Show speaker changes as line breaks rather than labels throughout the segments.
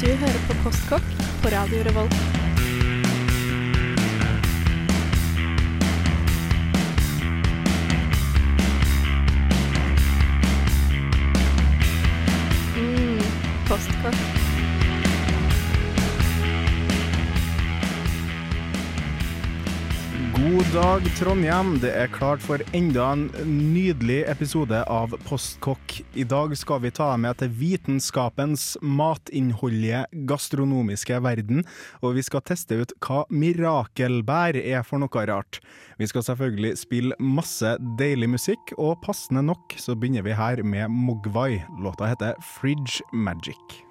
Du hører på Postkokk på Radio Revolt. Mm, postkokk.
God dag, Trondheim. Det er klart for enda en nydelig episode av Postkokk. I dag skal vi ta deg med til vitenskapens matinnholdige gastronomiske verden, og vi skal teste ut hva mirakelbær er for noe rart. Vi skal selvfølgelig spille masse deilig musikk, og passende nok så begynner vi her med Mogwai. Låta heter Fridge Magic.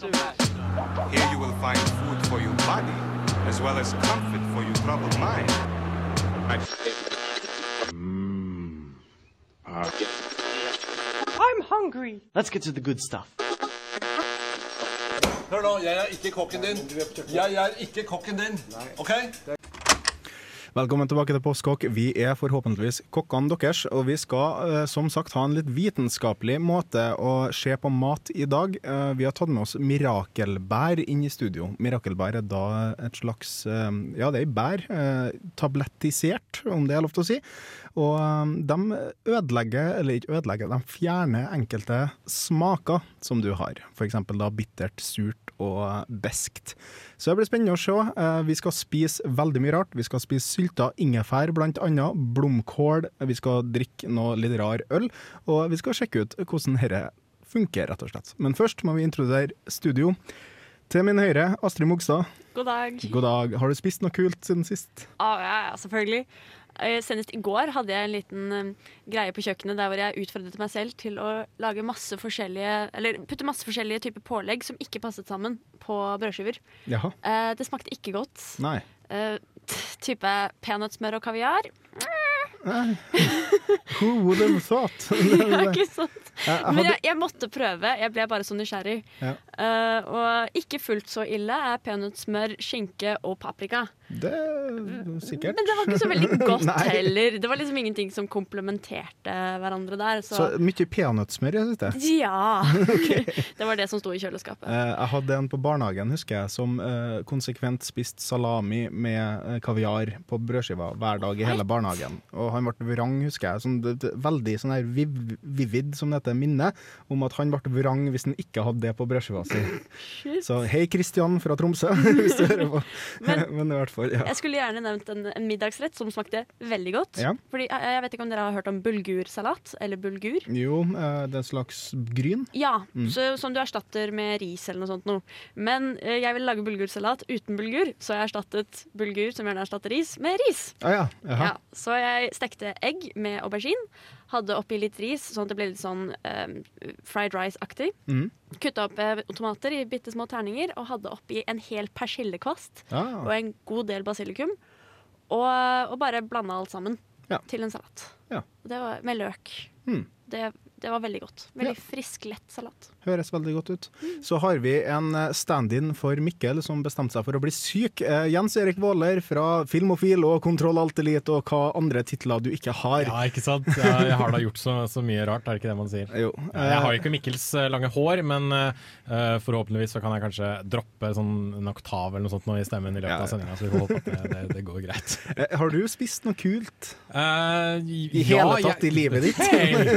Here you will find food for your body, as well as comfort for your troubled mind.
I'm hungry.
Let's get to the good stuff.
Hør nå, jeg er ikke kokken din. Jeg er ikke kokken din. OK?
Velkommen tilbake til Postkokk. Vi er forhåpentligvis kokkene deres, og vi skal eh, som sagt ha en litt vitenskapelig måte å se på mat i dag. Eh, Vi har tatt med oss mirakelbær inn i studio. Mirakelbær er da et slags eh, Ja, det er ei bær. eh, Tablettisert, om det er lov til å si. Og eh, de ødelegger, eller ikke ødelegger, de fjerner enkelte smaker som du har. F.eks. da bittert, surt og beskt. Så det blir spennende å se. Eh, Vi skal spise veldig mye rart. Vi skal spise sylta ingefær blant annet, blomkål, vi skal drikke noe litt rar øl, og vi skal sjekke ut hvordan dette funker, rett og slett. Men først må vi introdusere studio. Til min høyre, Astrid Mogstad.
God dag.
God dag. Har du spist noe kult siden sist?
Ah, ja, ja, selvfølgelig. Eh, Senest i går hadde jeg en liten eh, greie på kjøkkenet der hvor jeg utfordret meg selv til å lage masse forskjellige, eller putte masse forskjellige typer pålegg som ikke passet sammen på brødskiver.
Jaha.
Eh, det smakte ikke godt.
Nei.
Eh, t- type peanøttsmør og kaviar.
Who would have thought?
Ja, ikke sant?
Jeg
Men
hadde,
jeg, jeg måtte prøve. Jeg ble bare så nysgjerrig.
Ja.
Eh, og ikke fullt så ille er peanøttsmør, skinke og paprika.
det er sikkert.
Men det var ikke så veldig godt
Nei.
heller. Det var liksom ingenting som komplementerte hverandre der. Så,
Så mye peanøttsmør, jeg synes det.
ja. det var det som sto i kjøleskapet.
Eh, Jeg hadde en på barnehagen, husker jeg, som eh, konsekvent spiste salami med eh, kaviar på brødskiva hver dag i hele barnehagen. Og han ble vrang, husker jeg. Sånn, det, det, veldig sånn her viv, vivid, som det heter, minne om at han ble vrang hvis han ikke hadde det på brødskiva si. Så hei, Kristian fra Tromsø, hvis du hører på. Men, i hvert fall, ja.
Jeg skulle gjerne nevnt en, en middagsrett som smakte veldig godt.
Ja.
Fordi jeg, jeg vet ikke om dere har hørt om bulgursalat eller bulgur.
Jo, eh, det er en slags gryn.
Ja, så, som du erstatter med ris eller noe sånt noe. Men eh, jeg ville lage bulgursalat uten bulgur, så jeg erstattet bulgur, som gjerne erstatter ris, med ris.
Ah, ja. Jaha.
Ja, så jeg stekte egg med aubergine. Hadde oppi litt ris, sånn at det ble litt sånn eh, fried rice-aktig.
Mhm.
Kutta opp eh, tomater i bitte små terninger og hadde oppi en hel persillekvast og
Ah,
en god del basilikum. Og, og bare blanda alt sammen
Ja.
til en salat.
Ja.
Og Det var, med løk.
Mhm.
Det, det var veldig godt. Veldig
Ja.
frisk, lett salat.
Høres veldig godt ut. Så har vi en eh, stand-in for Mikkel, som bestemte seg for å bli syk. Eh, Jens Erik Våler fra Filmofil og Kontroll Alt Elite, og hva andre titler du ikke har.
Ja, ikke sant? Jeg, jeg har da gjort så, så mye rart, er det ikke det man sier?
Jo,
Jeg har jo ikke Mikkels eh, lange hår, men eh, forhåpentligvis så kan jeg kanskje droppe sånn en oktav eller noe sånt nå i stemmen i løpet
Ja.
av sendinga, så vi får håpe at det, det, det går greit.
Eh, har du spist noe kult?
Eh,
I hele tatt i livet ditt?
Hei!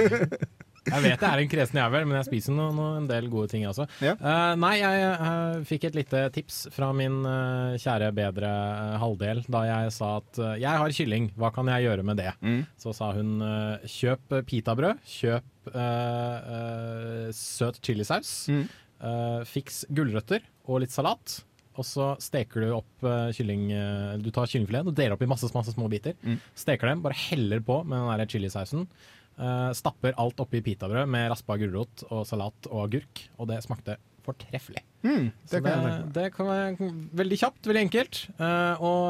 Jeg vet jeg er en kresen jævel, men jeg spiser nå, nå en del gode ting, altså.
Ja.
Eh, nei, jeg eh, fikk et lite tips fra min eh, kjære bedre eh, halvdel da jeg sa at eh, jeg har kylling, hva kan jeg gjøre med det? Så sa hun eh, kjøp eh, pitabrød, kjøp eh, eh, søt chilisaus,
Mm.
eh, fiks gulrøtter og litt salat. Og så steker du opp eh, kylling eh, Du tar kyllingfileten og deler opp i masse, masse små biter.
Mm.
Steker dem, bare heller på med den der chilisausen. eh, stapper alt oppi pitabrød med raspa gulrot og salat og agurk. Og det smakte fortreffelig.
Det
Så
kan jeg tenke meg.
det, det kan være veldig kjapt, veldig enkelt, eh, og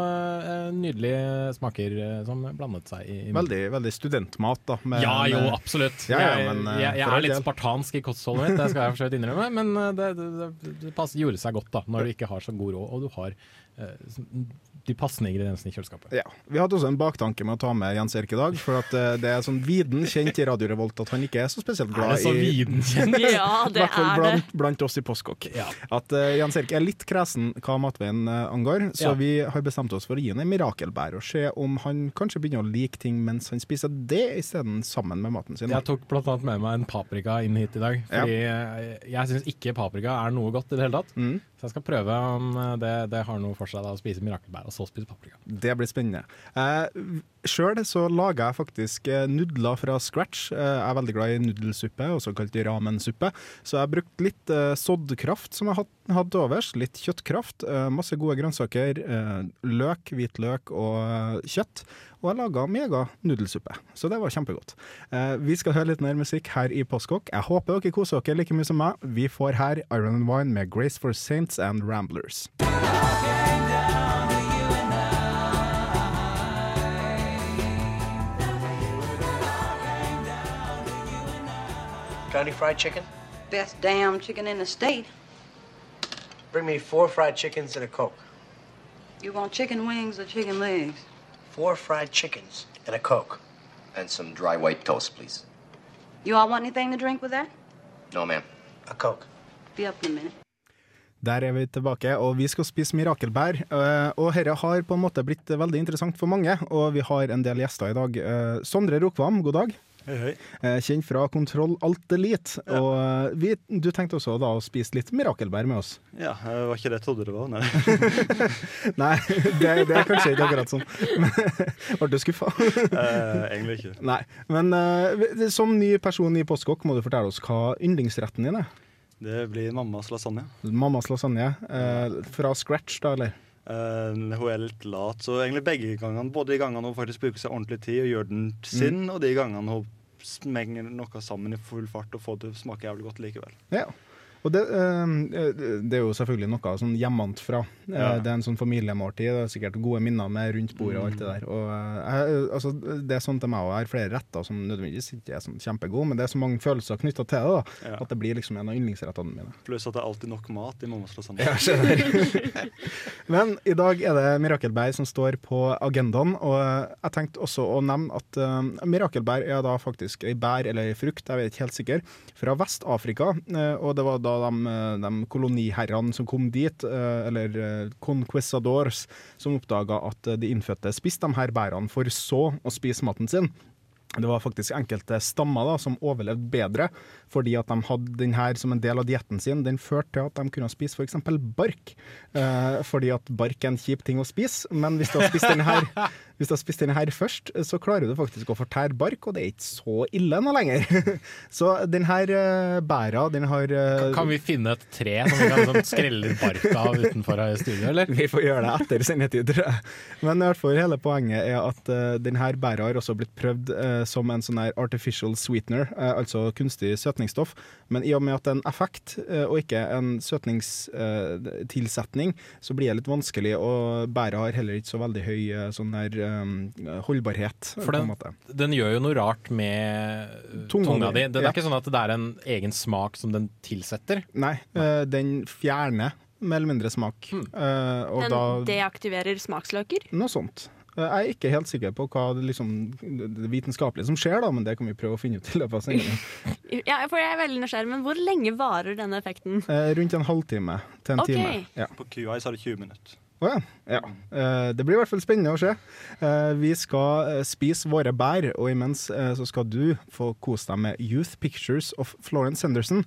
eh, nydelige smaker eh, som blandet seg i, i munnen.
Veldig, veldig studentmat, da. med-
ja, jo,
med-
absolutt.
eh, Ja, ja, men, eh,
jeg, jeg, jeg
for all
er litt
del.
spartansk i kostholdet mitt, det skal jeg for så vidt innrømme. Men eh, det, det, det, det pass, gjorde seg godt da, når du ikke har så god råd, og du har eh, s- de passende ingrediensene i kjøleskapet.
Ja. Vi hadde også en baktanke med å ta med Jens Erik i dag, for at eh, det er sånn viden kjent i Radio Revolt at han ikke er så spesielt
Er
glad
det så
i
videnkjent?
Ja,
i
det
hvert fall
er det.
blant, blant oss i Postkokk.
Ja.
At eh, Jens Erik er litt kresen hva matveien eh, angår, så
Ja.
vi har bestemt oss for å gi han en mirakelbær og se om han kanskje begynner å like ting mens han spiser det isteden sammen med maten sin.
Jeg tok blant annet med meg en paprika inn hit i dag, fordi eh, jeg syns ikke paprika er noe godt i det hele tatt.
Mm.
Så jeg skal prøve om eh, det, det har noe for seg da, å spise mirakelbær og så spise paprika.
Det blir spennende. Eh, Sjøl så lager jeg faktisk eh, nudler fra scratch. Eh, jeg er veldig glad i nudelsuppe, også kalt ramensuppe. Så jeg har brukt litt eh, soddkraft som jeg had- hadde til overs. Litt kjøttkraft. Eh, masse gode grønnsaker. Eh, løk, hvitløk og eh, kjøtt. Og jeg laga mega nudelsuppe. Så det var kjempegodt. Eh, vi skal høre litt mer musikk her i Postkokk. Jeg håper dere koser dere like mye som meg. Vi får her Iron and Wine med Grace for Saints and Ramblers.
Johnny Fried Chicken?
Best damn chicken in the state.
Bring me four fried chickens and a Coke.
You want chicken wings or chicken legs?
Four fried chickens and a Coke.
And some dry white toast, please.
You all want anything to drink with that?
No, ma'am.
A Coke.
Be up in a minute.
Der er vi tilbake, og vi skal spise mirakelbær. Eh, Og dette har på en måte blitt veldig interessant for mange, og vi har en del gjester i dag. Eh, Sondre Rokvam, god dag. Eh, Kjent fra Kontroll Alt Elite. Og eh, vi, du tenkte også da å spise litt mirakelbær med oss.
Ja, eh, var ikke det jeg trodde det var? Nei.
Nei, det, det er kanskje ikke akkurat sånn. Men- Ble du skuffa?
Eh, egentlig ikke.
Nei. Men eh, som ny person i Postkokk må du fortelle oss hva yndlingsretten din er.
Det blir mammas lasagne.
Mammas lasagne. eh, Fra scratch, da, eller?
Eh, hun er litt lat, så egentlig begge gangene, både de gangene hun faktisk bruker seg ordentlig tid og gjør den sin,
Mm.
og de gangene hun smenger noe sammen i full fart og får det til å smake jævlig godt likevel.
Ja. Og det, eh, det er jo selvfølgelig noe sånn hjemmefra. Eh,
Ja.
Det er en sånn familiemåltid. Det er sikkert gode minner med rundt bordet og alt
Mm.
det der. Og, eh, jeg, altså, det er sånn til meg òg. Jeg har flere retter som nødvendigvis ikke er sånn kjempegode, men det er så mange følelser knytta til det da,
Ja.
at det blir liksom en av yndlingsrettene mine.
Pluss at det er alltid nok mat i mammas lasagne.
Men i dag er det mirakelbær som står på agendaen, og jeg tenkte også å nevne at eh, mirakelbær er da faktisk ei bær eller ei frukt, jeg vet ikke helt sikker, fra Vest-Afrika. eh, og det var da de, eh, de koloniherrene som kom dit, eh, eller eh, conquistadors, som oppdaga at eh, de innfødte spiste de her bærene for så å spise maten sin. Det var faktisk enkelte stammer da, som overlevde bedre, fordi at de hadde den her som en del av dietten sin. Den førte til at de kunne spise f.eks. bark, eh, fordi at bark er en kjip ting å spise. Men hvis du har spist den her, hvis du har spist den her først, så klarer du faktisk å fortære bark, og det er ikke så ille nå lenger. så den her eh, bæra, den har eh,
Kan vi finne et tre som vi kan liksom skrelle litt bark av utenfor her i studio, eller?
Vi får gjøre det etter sendetid, tror jeg. Men i hvert fall hele poenget er at eh, den her bæra har også blitt prøvd eh, som en sånn her artificial sweetener, eh, altså kunstig søtningsstoff. Men i og med at det er en effekt eh, og ikke en søtningstilsetning, så blir det litt vanskelig, og bæra har heller ikke så veldig høy eh, sånn her eh, holdbarhet.
For
på en
den,
måte.
den gjør jo noe rart med eh,
Tunga
tunga,
di,
di. Det er
ja.
ikke sånn at det er en egen smak som den tilsetter.
Nei, eh, den fjerner mer eller mindre smak.
Hmm.
eh, og
Den
da
deaktiverer smaksløker.
Noe sånt. Eh, Jeg er ikke helt sikker på hva det, liksom, det vitenskapelige som skjer, da, men det kan vi prøve å finne ut i løpet av sendingen.
Ja, for jeg er veldig nysgjerrig, men hvor lenge varer denne effekten?
Eh, Rundt en halvtime til en
Ok.
time. Ja.
På QI så er det 20 minutter.
Å ja. ja. Eh, Det blir i hvert fall spennende å se. Eh, Vi skal eh, spise våre bær, og imens eh, så skal du få kose deg med Youth Pictures of Florence Henderson.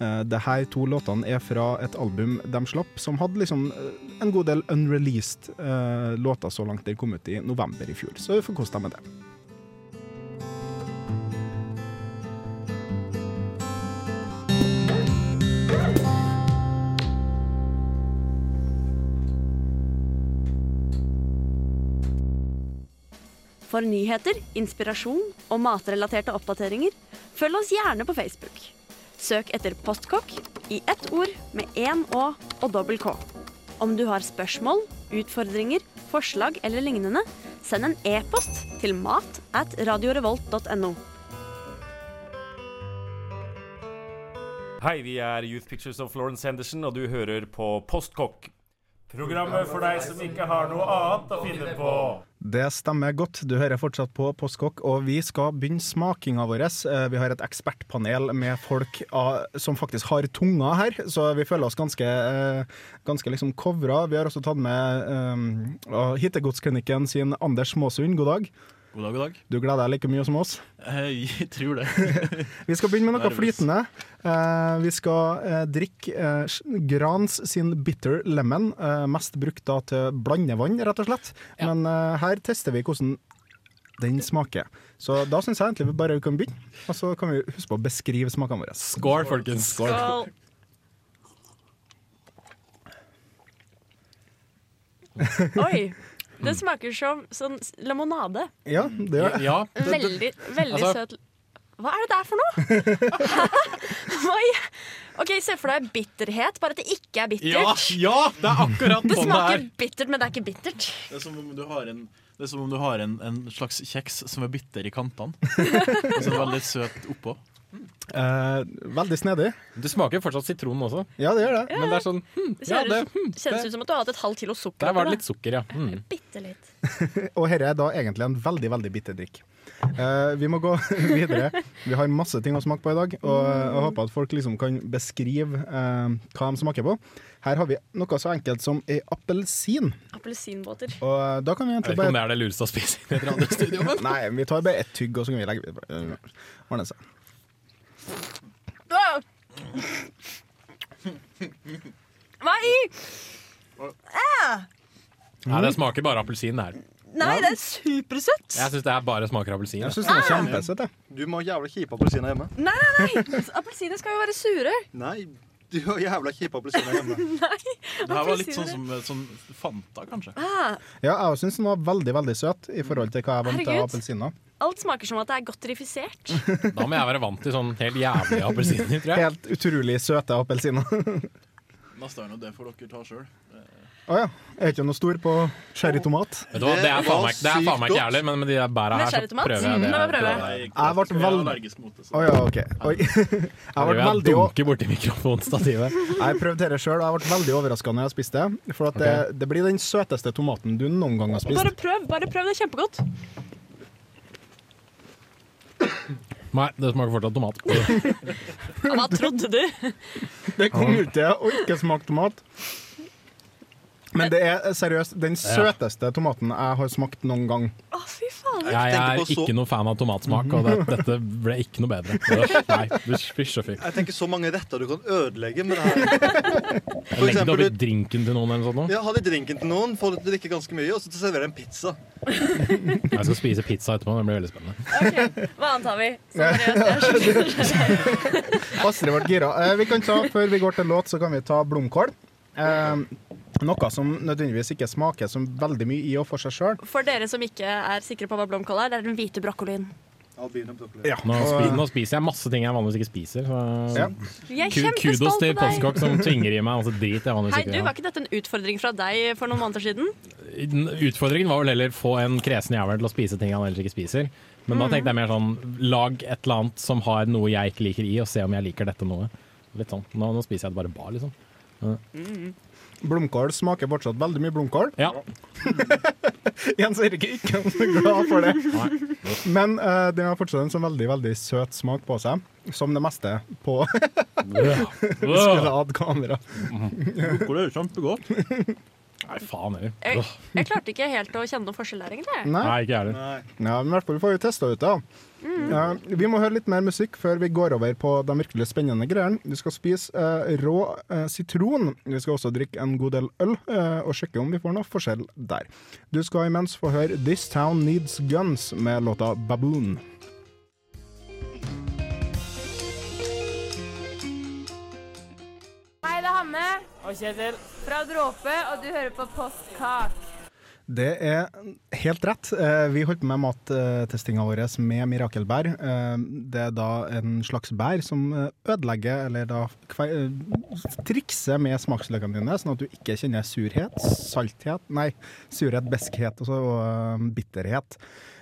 Eh, Det her to låtene er fra et album de slapp, som hadde liksom eh, en god del unreleased eh, låter så langt de kom ut i november i fjor. Så du får kose deg med det.
For nyheter, inspirasjon og matrelaterte oppdateringer, følg oss gjerne på Facebook. Søk etter Postkokk
i ett ord med én Å og dobbel K. Om du har spørsmål, utfordringer, forslag eller lignende, send en e-post til mat at radiorevolt.no.
Hei, vi er Youth Pictures of Florence Henderson, og du hører på Postkokk. Programmet for deg som ikke har noe annet å finne på.
Det stemmer godt. Du hører fortsatt på Postkokk, og vi skal begynne smakinga vår. Eh, Vi har et ekspertpanel med folk av, som faktisk har tunga her, så vi føler oss ganske, eh, ganske liksom covra. Vi har også tatt med eh, av Hittegodsklinikken sin Anders Måsund. God dag.
God dag, god dag.
Du gleder deg like mye som oss?
Eh, Jeg tror det.
Vi skal begynne med noe
Nervøs.
flytende. Eh, vi skal eh, drikke eh, Grans sin Bitter Lemon, eh, mest brukt da til blandevann, rett og slett. Men eh, her tester vi hvordan den smaker. Så da syns jeg egentlig vi bare kan begynne. Og så kan vi huske på å beskrive smakene våre.
Skål, folkens.
Skål.
Oi. Det smaker som sånn s- limonade.
Ja, det gjør det.
Mm,
Veldig, veldig
Altså-
søt Hva er det der for noe? Hva i- OK, se for deg bitterhet, bare at det ikke er bittert.
Ja, ja, det er akkurat
Det
sånn det
smaker
er.
bittert, men det er ikke bittert.
Det er som om du har en, det er som om du har en, en slags kjeks som er bitter i kantene. Og så veldig søt oppå.
Eh, veldig snedig.
Det smaker fortsatt sitron også.
Ja, det gjør det.
Men det er sånn hm,
Det
ja,
kjennes,
det, hm,
ut, kjennes ut som at du har hatt et halvt kilo sukker.
Der var
oppi
det litt sukker, ja. Mm.
Bitte litt.
Og dette er da egentlig en veldig, veldig bitter drikk. Eh, vi må gå videre. Vi har masse ting å smake på i dag, og jeg håper at folk liksom kan beskrive eh, hva de smaker på. Her har vi noe så enkelt som ei appelsin.
Appelsinbåter.
Og eh, da kan vi
Jeg vet
egentlig bare
ikke om det er det lureste å spise i et radiostudio, men
Nei, vi tar bare ett tygg, og så kan vi legge uh, Ordne seg.
Ah! Hva i ah!
Nei, det smaker bare appelsin, det her.
Nei, det er supersøtt!
Jeg syns det er bare smaker appelsin.
Jeg synes det er kjempesøtt,
Du må ha jævla kjipe appelsiner hjemme.
Nei, nei, nei! Appelsiner skal jo være sure.
Nei, du har jævla kjipe appelsiner hjemme.
Nei.
Det her var litt sånn som sånn Fanta, kanskje.
Ah,
Ja, jeg syns den var veldig, veldig søt i forhold til hva jeg er vant til av
Herregud.
appelsiner.
alt smaker som at det er godterifisert.
Da må jeg være vant til sånn helt jævlige appelsiner, tror jeg.
Helt utrolig søte appelsiner. Å
Neste er nå det får dere ta sjøl.
ja. Er ikke noe stor på sherrytomat?
Vet du hva, Det er faen meg, det er faen meg ikke
Sykt
jævlig, men med de der bæra
Med
her, så
sherrytomat?
prøver jeg
Mm,
det.
la meg prøve.
prøver jeg.
Jeg ble
Jeg er
veldig
allergisk mot det.
Å ja, OK. Oi. Jeg ble
Jeg
veldig
dunker borti mikrofonstativet.
Jeg prøvde det sjøl, og jeg ble veldig overraska når jeg spiste det. For at det, det blir den søteste tomaten du noen gang har
Bare
spist.
prøv, bare prøv, det er kjempegodt.
Nei, det smaker fortsatt tomat.
Ja, Hva trodde du?
Det kom ut til å ikke smake tomat. Men det er seriøst den søteste tomaten jeg har smakt noen gang.
Å, fy faen.
Jeg er ikke noe fan av tomatsmak, og det, dette ble ikke noe bedre. Så, Nei, du fysj og fy.
Jeg tenker så mange retter du kan ødelegge med det her. For
Legg det
eksempel,
oppi drinken til noen eller noe sånt. nå.
ja, ha litt drinken til noen, få dem til å drikke ganske mye, og så servere en pizza.
Jeg skal spise pizza etterpå, det blir veldig spennende.
Hva annet har vi?
Astrid ble gira. Eh, vi kan ta, Før vi går til låt, så kan vi ta blomkål. Eh, noe som nødvendigvis ikke smaker som veldig mye i og for seg sjøl.
For dere som ikke er sikre på hva blomkål er, det er den hvite brokkolien.
Ja,
Nå, spi,
og-
nå spiser jeg masse ting jeg vanligvis ikke spiser. Så.
Jeg er
Ku-
kjempestolt
Kudos til
av deg.
Postkokk som tvinger i meg masse drit jeg vanligvis
Hei,
ikke
du, Var ikke dette en utfordring fra deg for noen måneder siden?
Den Utfordringen var vel heller få en kresen jævel til å spise ting han ellers ikke spiser. Men da
Mm.
tenkte jeg mer sånn lag et eller annet som har noe jeg ikke liker i, og se om jeg liker dette noe. Litt sånn. Nå, nå spiser jeg det bare bar, liksom. Ja.
Blomkål smaker fortsatt veldig mye blomkål.
Ja.
Jens Erik er ikke så glad for det. Men eh, den har fortsatt en sånn veldig veldig søt smak på seg, som det meste på Skulle hatt kamera.
Blomkål er kjempegodt.
Nei, faen heller.
Jeg, jeg klarte ikke helt å kjenne noen forskjell der, egentlig.
ikke jeg
heller. Ja, men i hvert fall, vi får jo testa ut, da. Eh, vi må høre litt mer musikk før vi går over på de virkelig spennende greiene. Vi skal spise eh, rå eh, sitron. Vi skal også drikke en god del øl eh, og sjekke om vi får noe forskjell der. Du skal imens få høre This Town Needs Guns med låta Baboon.
Hei, det er Hanne. Og Kjetil. Fra Dråpe, og du hører på Postkak.
Det er helt rett. Eh, Vi holdt på med mattestinga vår med mirakelbær. Eh, Det er da en slags bær som eh, ødelegger, eller da kve- eh, trikser med smaksløkene dine, sånn at du ikke kjenner surhet, salthet, nei, surhet, beskhet og, så, og eh, bitterhet.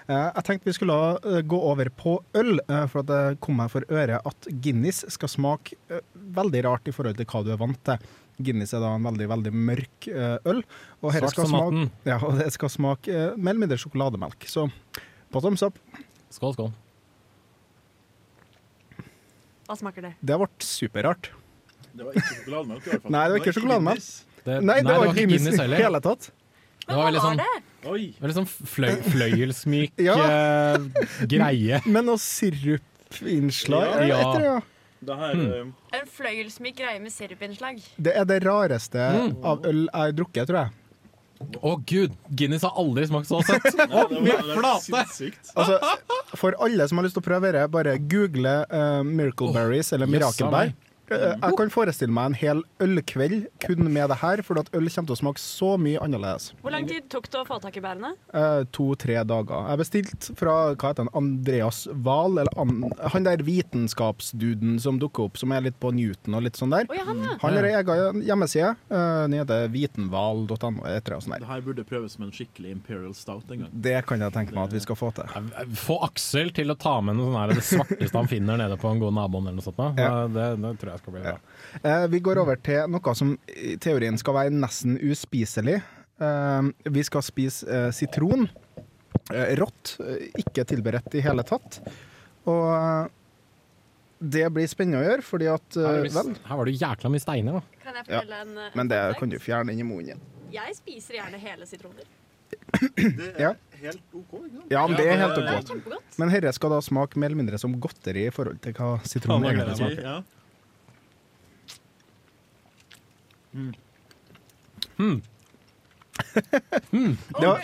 Eh, Jeg tenkte vi skulle eh, gå over på øl, eh, for at det kom meg for øre at Guinness skal smake eh, veldig rart i forhold til hva du er vant til. Guinness er da en veldig, veldig mørk eh, øl. Og her
Svart
skal
som
smake,
natten.
ja, og det skal smake eh, mer eller mindre sjokolademelk. Så på thumbs up.
Skål, skål.
Hva smaker det?
Det ble superrart.
Det var ikke sjokolademelk, i hvert fall.
Nei, det var ikke sjokolademelk. Nei,
Det-
det var,
det
ikke Guinness i
heller.
hele tatt.
Det var veldig sånn,
Oi.
veldig sånn fløy, fløyelsmyk
Ja.
eh, greie.
Men noe sirupinnslag
Ja.
jeg vet ikke, ja.
Det eh,
Hmm.
En fløyelsmyk greie med sirupinnslag.
Det er det rareste
Mm.
av øl jeg har drukket, tror jeg.
Å gud, Guinness har aldri smakt så søtt! Å,
det var-
min
det var
flate!
Altså, for alle som har lyst til å prøve det, bare google eh, Miracle Berries eller
jøssa
Mirakelbær.
meg.
Eh, jeg kan forestille meg en hel ølkveld kun med det her, for at øl kommer til å smake så mye annerledes. Eh,
Hvor lang tid tok det å få tak i bærene?
To-tre dager. Jeg bestilte fra hva heter han, Andreas Wahl, eller an, han der vitenskapsduden som dukker opp, som er litt på Newton og litt sånn der.
Å, ja, han, ja.
Han har ei egen hjemmeside. eh, Den heter vitenval.no. et eller annet sånt der.
Det her burde prøves som en skikkelig Imperial Stout en gang.
Det kan jeg tenke meg at vi skal få til.
Få Aksel til å ta med noe sånn her, det svarteste han finner nede på en god naboen eller noe sånt. da.
Ja.
Det, det tror jeg skal bli bra.
Eh, Vi går over til noe som i teorien skal være nesten uspiselig. Eh, Vi skal spise eh, sitron. Eh, Rått, eh, ikke tilberedt i hele tatt. Og eh, det blir spennende å gjøre, fordi at eh,
Her, er
Vel.
det- her var det jo jækla mye steiner, da.
Kan jeg
Ja.
fortelle en eh,
Men det
anekdote?
kan du fjerne inn i munnen igjen.
Jeg spiser gjerne hele sitroner.
Ja.
Helt OK, ikke sant?
ja, men det er helt
det er
ok. Men dette skal da smake mer eller mindre som godteri i forhold til hva sitron
Faen, jeg
egentlig
gleder meg.
smaker.
Ja.
Mm. Det var-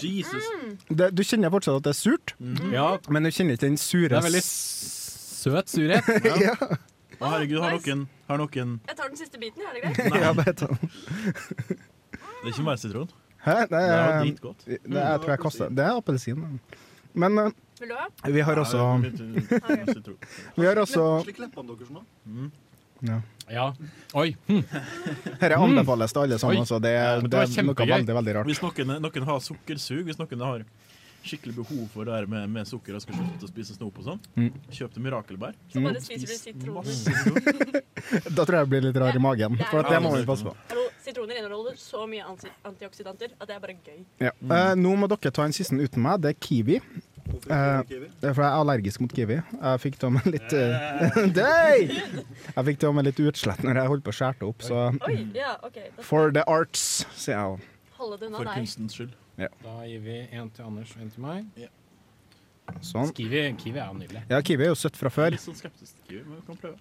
det, du kjenner fortsatt at det er surt,
Ja.
men du kjenner ikke den sure
Mm. Det er veldig
søt surhet.
ja.
Å, herregud, har noen, har noen
Jeg tar den siste biten, er det greit?
ja, det heter den.
Det er ikke bare sitron.
Hæ? Det er,
Det er jo dritgodt.
Um, det,
Mm,
jeg
det
tror jeg
er
kaster Det er appelsin. Men eh,
Vil du ha?
vi har også Vi har også
Slik leppene deres nå.
ja.
Ja. Oi. Hm.
Dette anbefales til alle sammen,
Oi.
så det,
Ja, men
det
var
er noe
kjempegøy.
veldig veldig rart.
Hvis noen, noen har sukkersug, hvis noen har skikkelig behov for det her med, med sukker og skal slutte å spise snop og sånn,
Mm.
kjøp deg mirakelbær.
Så bare
Mm.
spiser du
Spis
sitroner.
masse sitron.
Da tror jeg jeg blir litt rar i magen,
Det er
for at det
jo-
må vi passe på.
Hallo, sitroner inneholder så mye anti- antioksidanter at det er bare gøy.
Ja. Eh, nå må dere ta en siste uten meg. Det er kiwi. Eh,
kiwi?
det er fordi jeg er allergisk mot kiwi. Jeg fikk til og med litt eh, Dei! Jeg fikk til og med litt utslett når jeg holdt på å skjære det opp, så
Oi, ja, ok. Da skal
For the arts, sier jeg.
jeg holde det unna deg.
skyld.
Ja.
Da gir vi en til Anders og en til meg.
Sånn.
Kiwi, kiwi er jo nydelig.
Ja, kiwi er jo søtt fra før.
Litt sånn skeptisk, men vi kan prøve.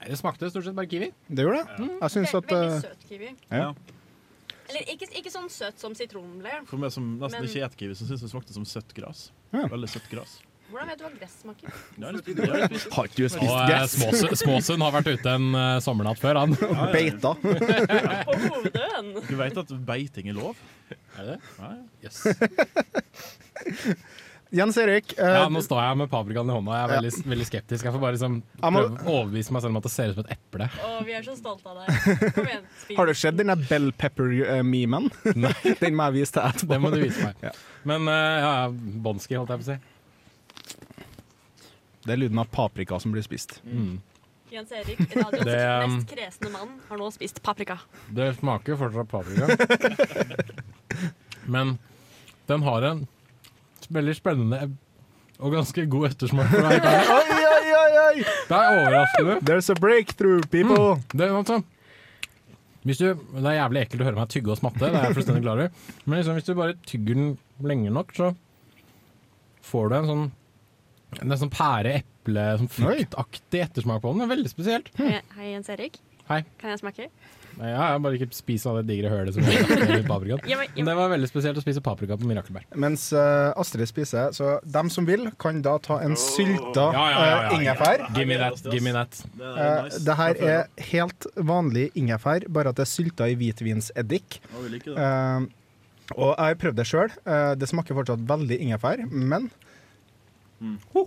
Nei, Det smakte stort sett bare kiwi.
Det gjorde det. Jeg syns at
Mm. Veldig
eh,
søt kiwi.
ja.
Eller ikke, ikke sånn søt som sitronen ble.
For meg som nesten
Men-
ikke spiser kiwi, så syns jeg det smakte som søtt gras. Veldig søtt gras.
Hvordan vet du hva gress smaker?
Det er litt- det er litt-
Har ikke du
Og eh, Småsund, Småsund har vært ute en eh, sommernatt før, han.
Og beita.
På hovedøen!
Du veit at beiting er lov?
Er det det?
Ja,
Yes.
Jens Erik, eh,
Ja, nå står jeg med paprikaen i hånda. Jeg er veldig, veldig skeptisk. Jeg får bare liksom
Jeg må-
prøve å overbevise meg selv om at det ser ut som et eple.
Å, vi er så stolte av deg. Kom igjen, spis.
har du sett den der bell pepper-memen? den må jeg vise til etterpå.
Det må du vise meg. Men eh, ja, ja, bånski, holdt jeg på å si.
Det er lyden av paprika som blir spist.
Jens Erik, radios
Det, um,
mest kresne mann, har nå spist paprika.
Det smaker jo fortsatt paprika. Men den har en veldig spennende og ganske god ettersmak. for å være helt ærlig.
Oi, oi, oi, oi!
Det er overraskende.
There's a breakthrough, people!
Det er altså hvis du, det er jævlig ekkelt å høre meg tygge og smatte, det er jeg fullstendig klar over. Men liksom, hvis du bare tygger den lenge nok, så får du en sånn en sånn pære-eple, sånn fruktaktig ettersmak på den. Det er veldig spesielt.
Hei, hei, Jens Erik.
Hei.
Kan jeg smake?
Nei, Ja, jeg bare ikke spis av det digre hølet som er i paprikaen.
Ja, men- ja,
Men det var veldig spesielt å spise paprika på mirakelbær.
Mens eh, Astrid spiser, så dem som vil, kan da ta en sylta
Oh. Ja, ja, ja, ja.
eh, ingefær.
Give me that. Give me that.
Eh, det her er helt vanlig ingefær, bare at det er sylta i hvitvinseddik.
Ja, vi liker det.
Eh, og jeg har prøvd det sjøl. Eh, det smaker fortsatt veldig ingefær, men
Mm.
Ho!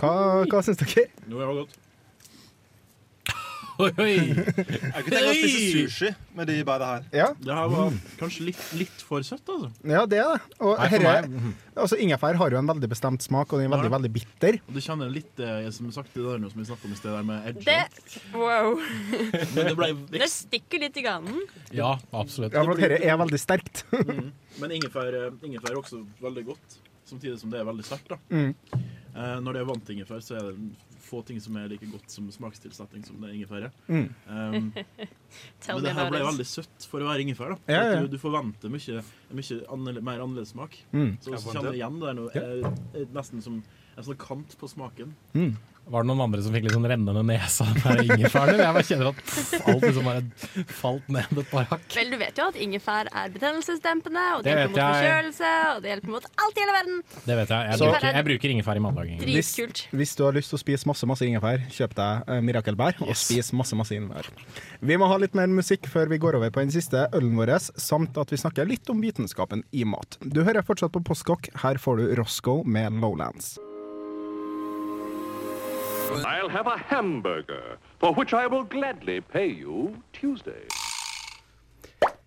Hva, hva syns dere?
Jo, det var godt.
Oi, oi.
Jeg kunne tenkt meg å spise sushi med de bæra her.
Ja.
Det her var kanskje litt, litt for søtt, altså.
Ja, det er det. Og
Nei, for
herre,
meg-
altså, ingefær har jo en veldig bestemt smak, og den er veldig, veldig bitter.
Og Du kjenner litt eh, som sagt, det der nå som vi snakket om i sted, der med edge.
Det Wow.
Men det ble
Det stikker litt i ganen.
Ja, absolutt.
Ja, for at herre er veldig sterkt.
Men ingefær, eh, ingefær er også veldig godt, samtidig som det er veldig sterkt. da.
Mm.
Eh, når det er vant ingefær, så er det få ting som er like godt som smakstilsetning som det ingefær er.
Mm.
Um,
Tell
men det
me
her
about
ble
it.
veldig søtt for å være ingefær. da.
Ja,
For at
ja.
Du, du forventer mye, mye annerle- mer annerledes smak.
Mm.
Så
Jeg
også
fant
kjenner
det.
jeg igjen det er noe, eh, eh, nesten som en sånn kant på smaken.
Var det noen andre som fikk litt sånn rennende nesa med ingefær? eller? Jeg bare kjenner at pff, alt liksom bare falt ned et par hakk.
Vel, du vet jo at ingefær er betennelsesdempende, og det,
Det
hjelper mot
vet jeg.
forkjølelse, og det hjelper mot alt i hele verden.
Det vet jeg. Jeg
Så-
bruker, jeg bruker ingefær i matlaging.
Hvis, hvis du har lyst til å spise masse masse ingefær, kjøp deg eh, mirakelbær og spis masse masse ingefær. Vi må ha litt mer musikk før vi går over på den siste ølen vår, samt at vi snakker litt om vitenskapen i mat. Du hører fortsatt på Postkokk. Her får du Roscoe med Lowlands.
I'll have a hamburger, for which I will gladly pay you Tuesday.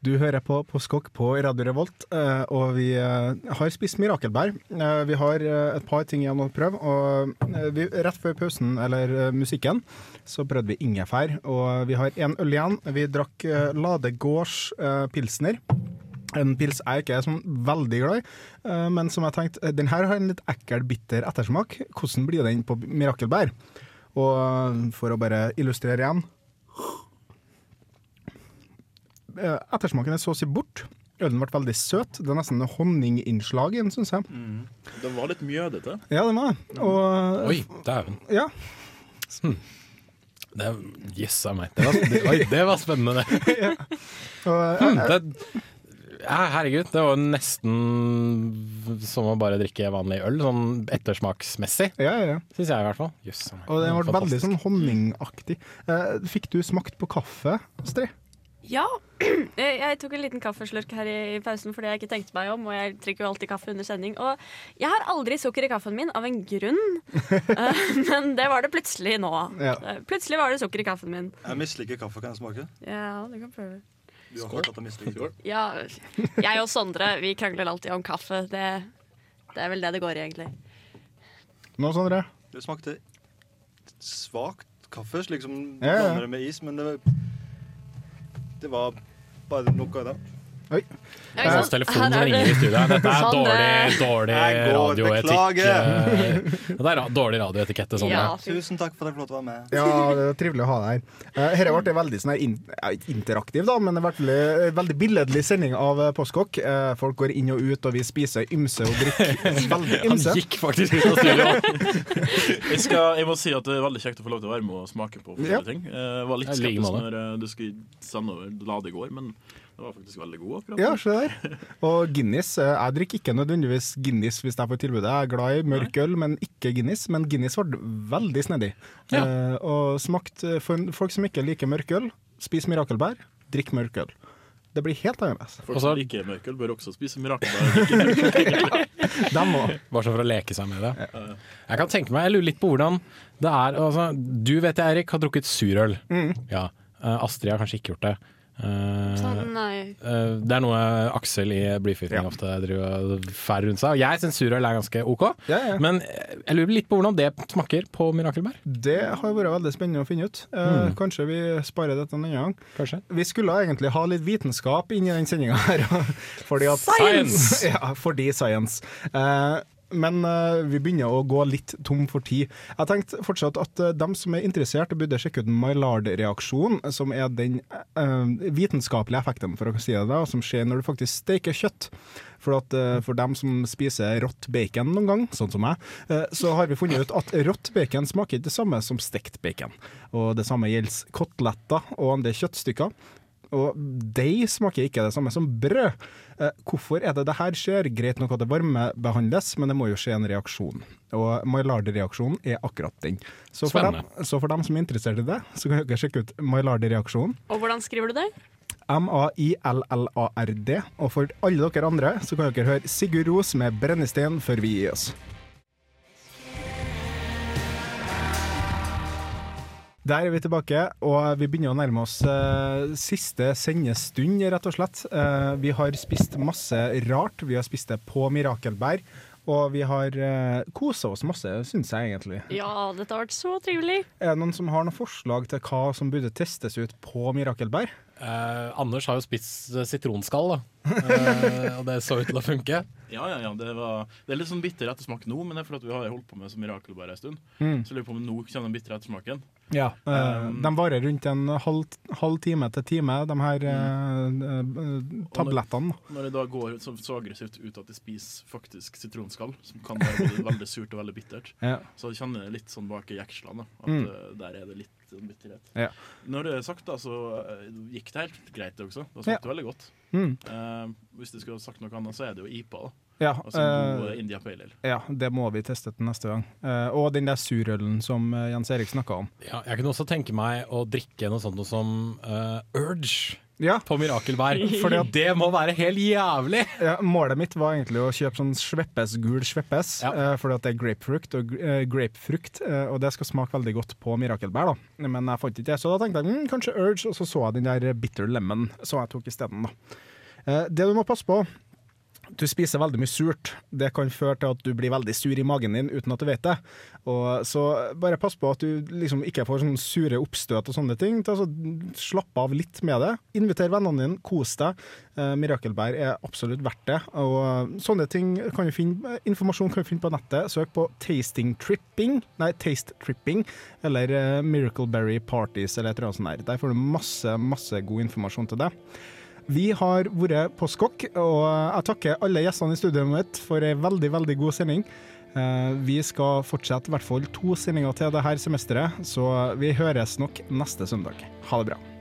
Du hører på Postkokk på Radio Revolt, eh, og vi eh, har spist mirakelbær. Eh, Vi har eh, et par ting igjen å prøve, og eh, vi, rett før pausen, eller eh, musikken, så prøvde vi ingefær. Og vi har én øl igjen. Vi drakk eh, Ladegårds eh, pilsner. En pils jeg ikke er sånn veldig glad i, eh, men som jeg tenkte, eh, den her har en litt ekkel, bitter ettersmak. Hvordan blir den på mirakelbær? Og eh, for å bare illustrere igjen, Eh, ettersmaken er så å si bort. Ølen ble veldig søt. Det er nesten noe honninginnslag i den, syns jeg.
Det var litt mjødete.
Ja, den var det. Og
Oi, dæven.
Ja.
Det, yes, jeg meg. Det, var, det, oi, det var spennende, det.
Og, eh,
Hmm, det ja, herregud, det var jo nesten som å bare drikke vanlig øl, sånn ettersmaksmessig.
Ja, ja,
Syns jeg, i hvert fall. Jøss.
og den ble veldig
Fantastisk.
sånn honningaktig. Eh, Fikk du smakt på kaffe, Astrid?
Ja. Eh, Jeg tok en liten kaffeslurk her i pausen fordi jeg ikke tenkte meg om, og jeg drikker jo alltid kaffe under sending. Og jeg har aldri sukker i kaffen min av en grunn, Eh, men det var det plutselig nå.
Ja.
Eh, Plutselig var det sukker i kaffen min.
Jeg misliker kaffe. Kan jeg smake?
Ja, du kan prøve.
Du har hørt at jeg misliker det.
Ja, jeg og Sondre vi krangler alltid om kaffe. Det, det er vel det det går i, egentlig.
Nå, Sondre?
Det smakte svakt kaffe, slik som du
Ja, ja.
blander det med is, men det, det var bare noe av det.
Oi.
Det er sånn telefonen som ringer i studio. Dette er dårlig, dårlig
Jeg går,
radioetikk.
beklager.
eh, Dette er ra- dårlig radioetikette, sånn.
Ja,
Ja.
Tusen takk for at jeg fikk lov til å være med.
Ja, det var trivelig å ha deg her. Eh, Dette ble en veldig sånn her in ja, ikke interaktiv, da, men en veldig, veldig billedlig sending av eh, Postkokk. Eh, Folk går inn og ut, og vi spiser ymse og drikker veldig
Han
ymse.
gikk faktisk ut av studio.
jeg, skal, jeg må si at det er veldig kjekt å få lov til å være med og smake på forskjellige
Ja.
ting. Eh, Jeg var litt
Jeg liker
skeptisk
med
når eh, du skulle sende over Lade i går, men det var faktisk veldig god akkurat.
Ja, se der. Og Guinness. eh, Jeg drikker ikke nødvendigvis Guinness hvis jeg får tilbudet. Jeg er glad i mørk øl, men ikke Guinness. Men Guinness ble veldig snedig. Eh, og smakt eh, for en- folk som ikke liker mørk øl, spis mirakelbær, drikk mørk øl. Det blir helt annerledes.
Folk som liker mørkel, bør også spise mirakelbær.
Dem òg.
Bare sånn for å leke seg med det. Jeg kan tenke meg, jeg lurer litt på hvordan det er altså, Du vet jeg, Erik, har drukket surøl.
Mm.
Ja. Eh, Astrid har kanskje ikke gjort det. Eh,
Sånn, nei.
eh, det er noe Aksel i Blyforgiftning ofte driver og fær rundt seg. Og jeg syns surøl er ganske OK, men eh, jeg lurer litt på hvordan det smaker på mirakelbær.
Det har vært veldig spennende å finne ut. Eh, Kanskje vi sparer dette en annen gang. Vi skulle egentlig ha litt vitenskap inn i den sendinga her. Fordi at,
Science!
Ja, fordi science. Eh, Men eh, vi begynner å gå litt tom for tid. Jeg tenkte fortsatt at eh, dem som er interessert, burde sjekke ut Maillard-reaksjonen, som er den eh, vitenskapelige effekten, for å si det da, som skjer når du faktisk steker kjøtt. For, at, eh, for dem som spiser rått bacon noen gang, sånn som meg, eh, så har vi funnet ut at rått bacon smaker ikke det samme som stekt bacon. Og det samme gjelder koteletter og andre kjøttstykker. Og deig smaker ikke det samme som brød. Eh, hvorfor er det det her skjer? Greit nok at det varmebehandles, men det må jo skje en reaksjon. Og Maillard-reaksjonen er akkurat den. Så for, dem,
Spennende.
så for dem som er interessert i det, så kan dere sjekke ut Maillard-reaksjonen.
Og hvordan skriver du det?
M-a-i-l-l-a-r-d. Og for alle dere andre så kan dere høre Sigurd Ros med 'Brennestein' før vi gir oss. Der er vi tilbake, og vi begynner å nærme oss eh, siste sendestund, rett og slett. Eh, vi har spist masse rart. Vi har spist det på mirakelbær. Og vi har uh, kosa oss masse, syns jeg egentlig.
Ja, dette har vært så trivelig.
Er det noen som har noen forslag til hva som burde testes ut på mirakelbær?
Anders har jo spist eh, sitronskall, da. Eh, og det så ut til å funke.
Ja, ja, ja. Det, var, det er litt sånn bitter ettersmak nå, men det er fordi at vi har holdt på med som mirakel bare en stund.
Mm.
Så jeg lurer på om nå kommer den bitre ettersmaken.
Ja, eh, de varer rundt en halv, halv time til time, de her eh, eh, tablettene.
Når det da går så, så aggressivt ut at de spiser faktisk sitronskall, som kan være både veldig surt og veldig bittert,
Ja.
så kjenner jeg litt sånn bak i jekslene at
Mm.
eh, der er det litt sånn bitterhet.
Ja.
Når det er sagt, da, så eh, gikk det helt greit, det også. Det smakte veldig godt.
Mm.
Eh, hvis du skulle ha sagt noe annet, så er det jo IPA. da.
Ja,
altså en god
eh,
eh, India Pale Ale.
Ja, det må vi teste til neste gang. Eh, og den der surølen som eh, Jens Erik snakka om.
Ja, jeg kunne også tenke meg å drikke noe sånt noe som eh, Urge på Mirakelbær.
Fordi at-
det må være helt jævlig!
Ja, målet mitt var egentlig å kjøpe sånn sveppes, gul sveppes, eh, fordi at det er grapefrukt, og, gr- eh, grapefrukt eh, og det skal smake veldig godt på mirakelbær. da. Men jeg fant ikke det, så da tenkte jeg mm, kanskje Urge, og så så jeg den der bitter lemon som jeg tok isteden. da. Eh, det du må passe på du spiser veldig mye surt. Det kan føre til at du blir veldig sur i magen din uten at du vet det. Og så bare pass på at du liksom ikke får sånne sure oppstøt og sånne ting. Ta så slapp av litt med det. Inviter vennene dine, kos deg. Eh, mirakelbær er absolutt verdt det. Og eh, sånne ting kan du finne, eh, informasjon kan du finne på nettet. Søk på Tasting Tripping, nei Taste Tripping, eller eh, Miracleberry Parties eller et eller annet sånt der. Der får du masse, masse god informasjon til det. Vi har vært på skokk, og jeg takker alle gjestene i studioet mitt for ei veldig, veldig god sending. Eh, Vi skal fortsette i hvert fall to sendinger til dette semesteret, så vi høres nok neste søndag. Ha det bra.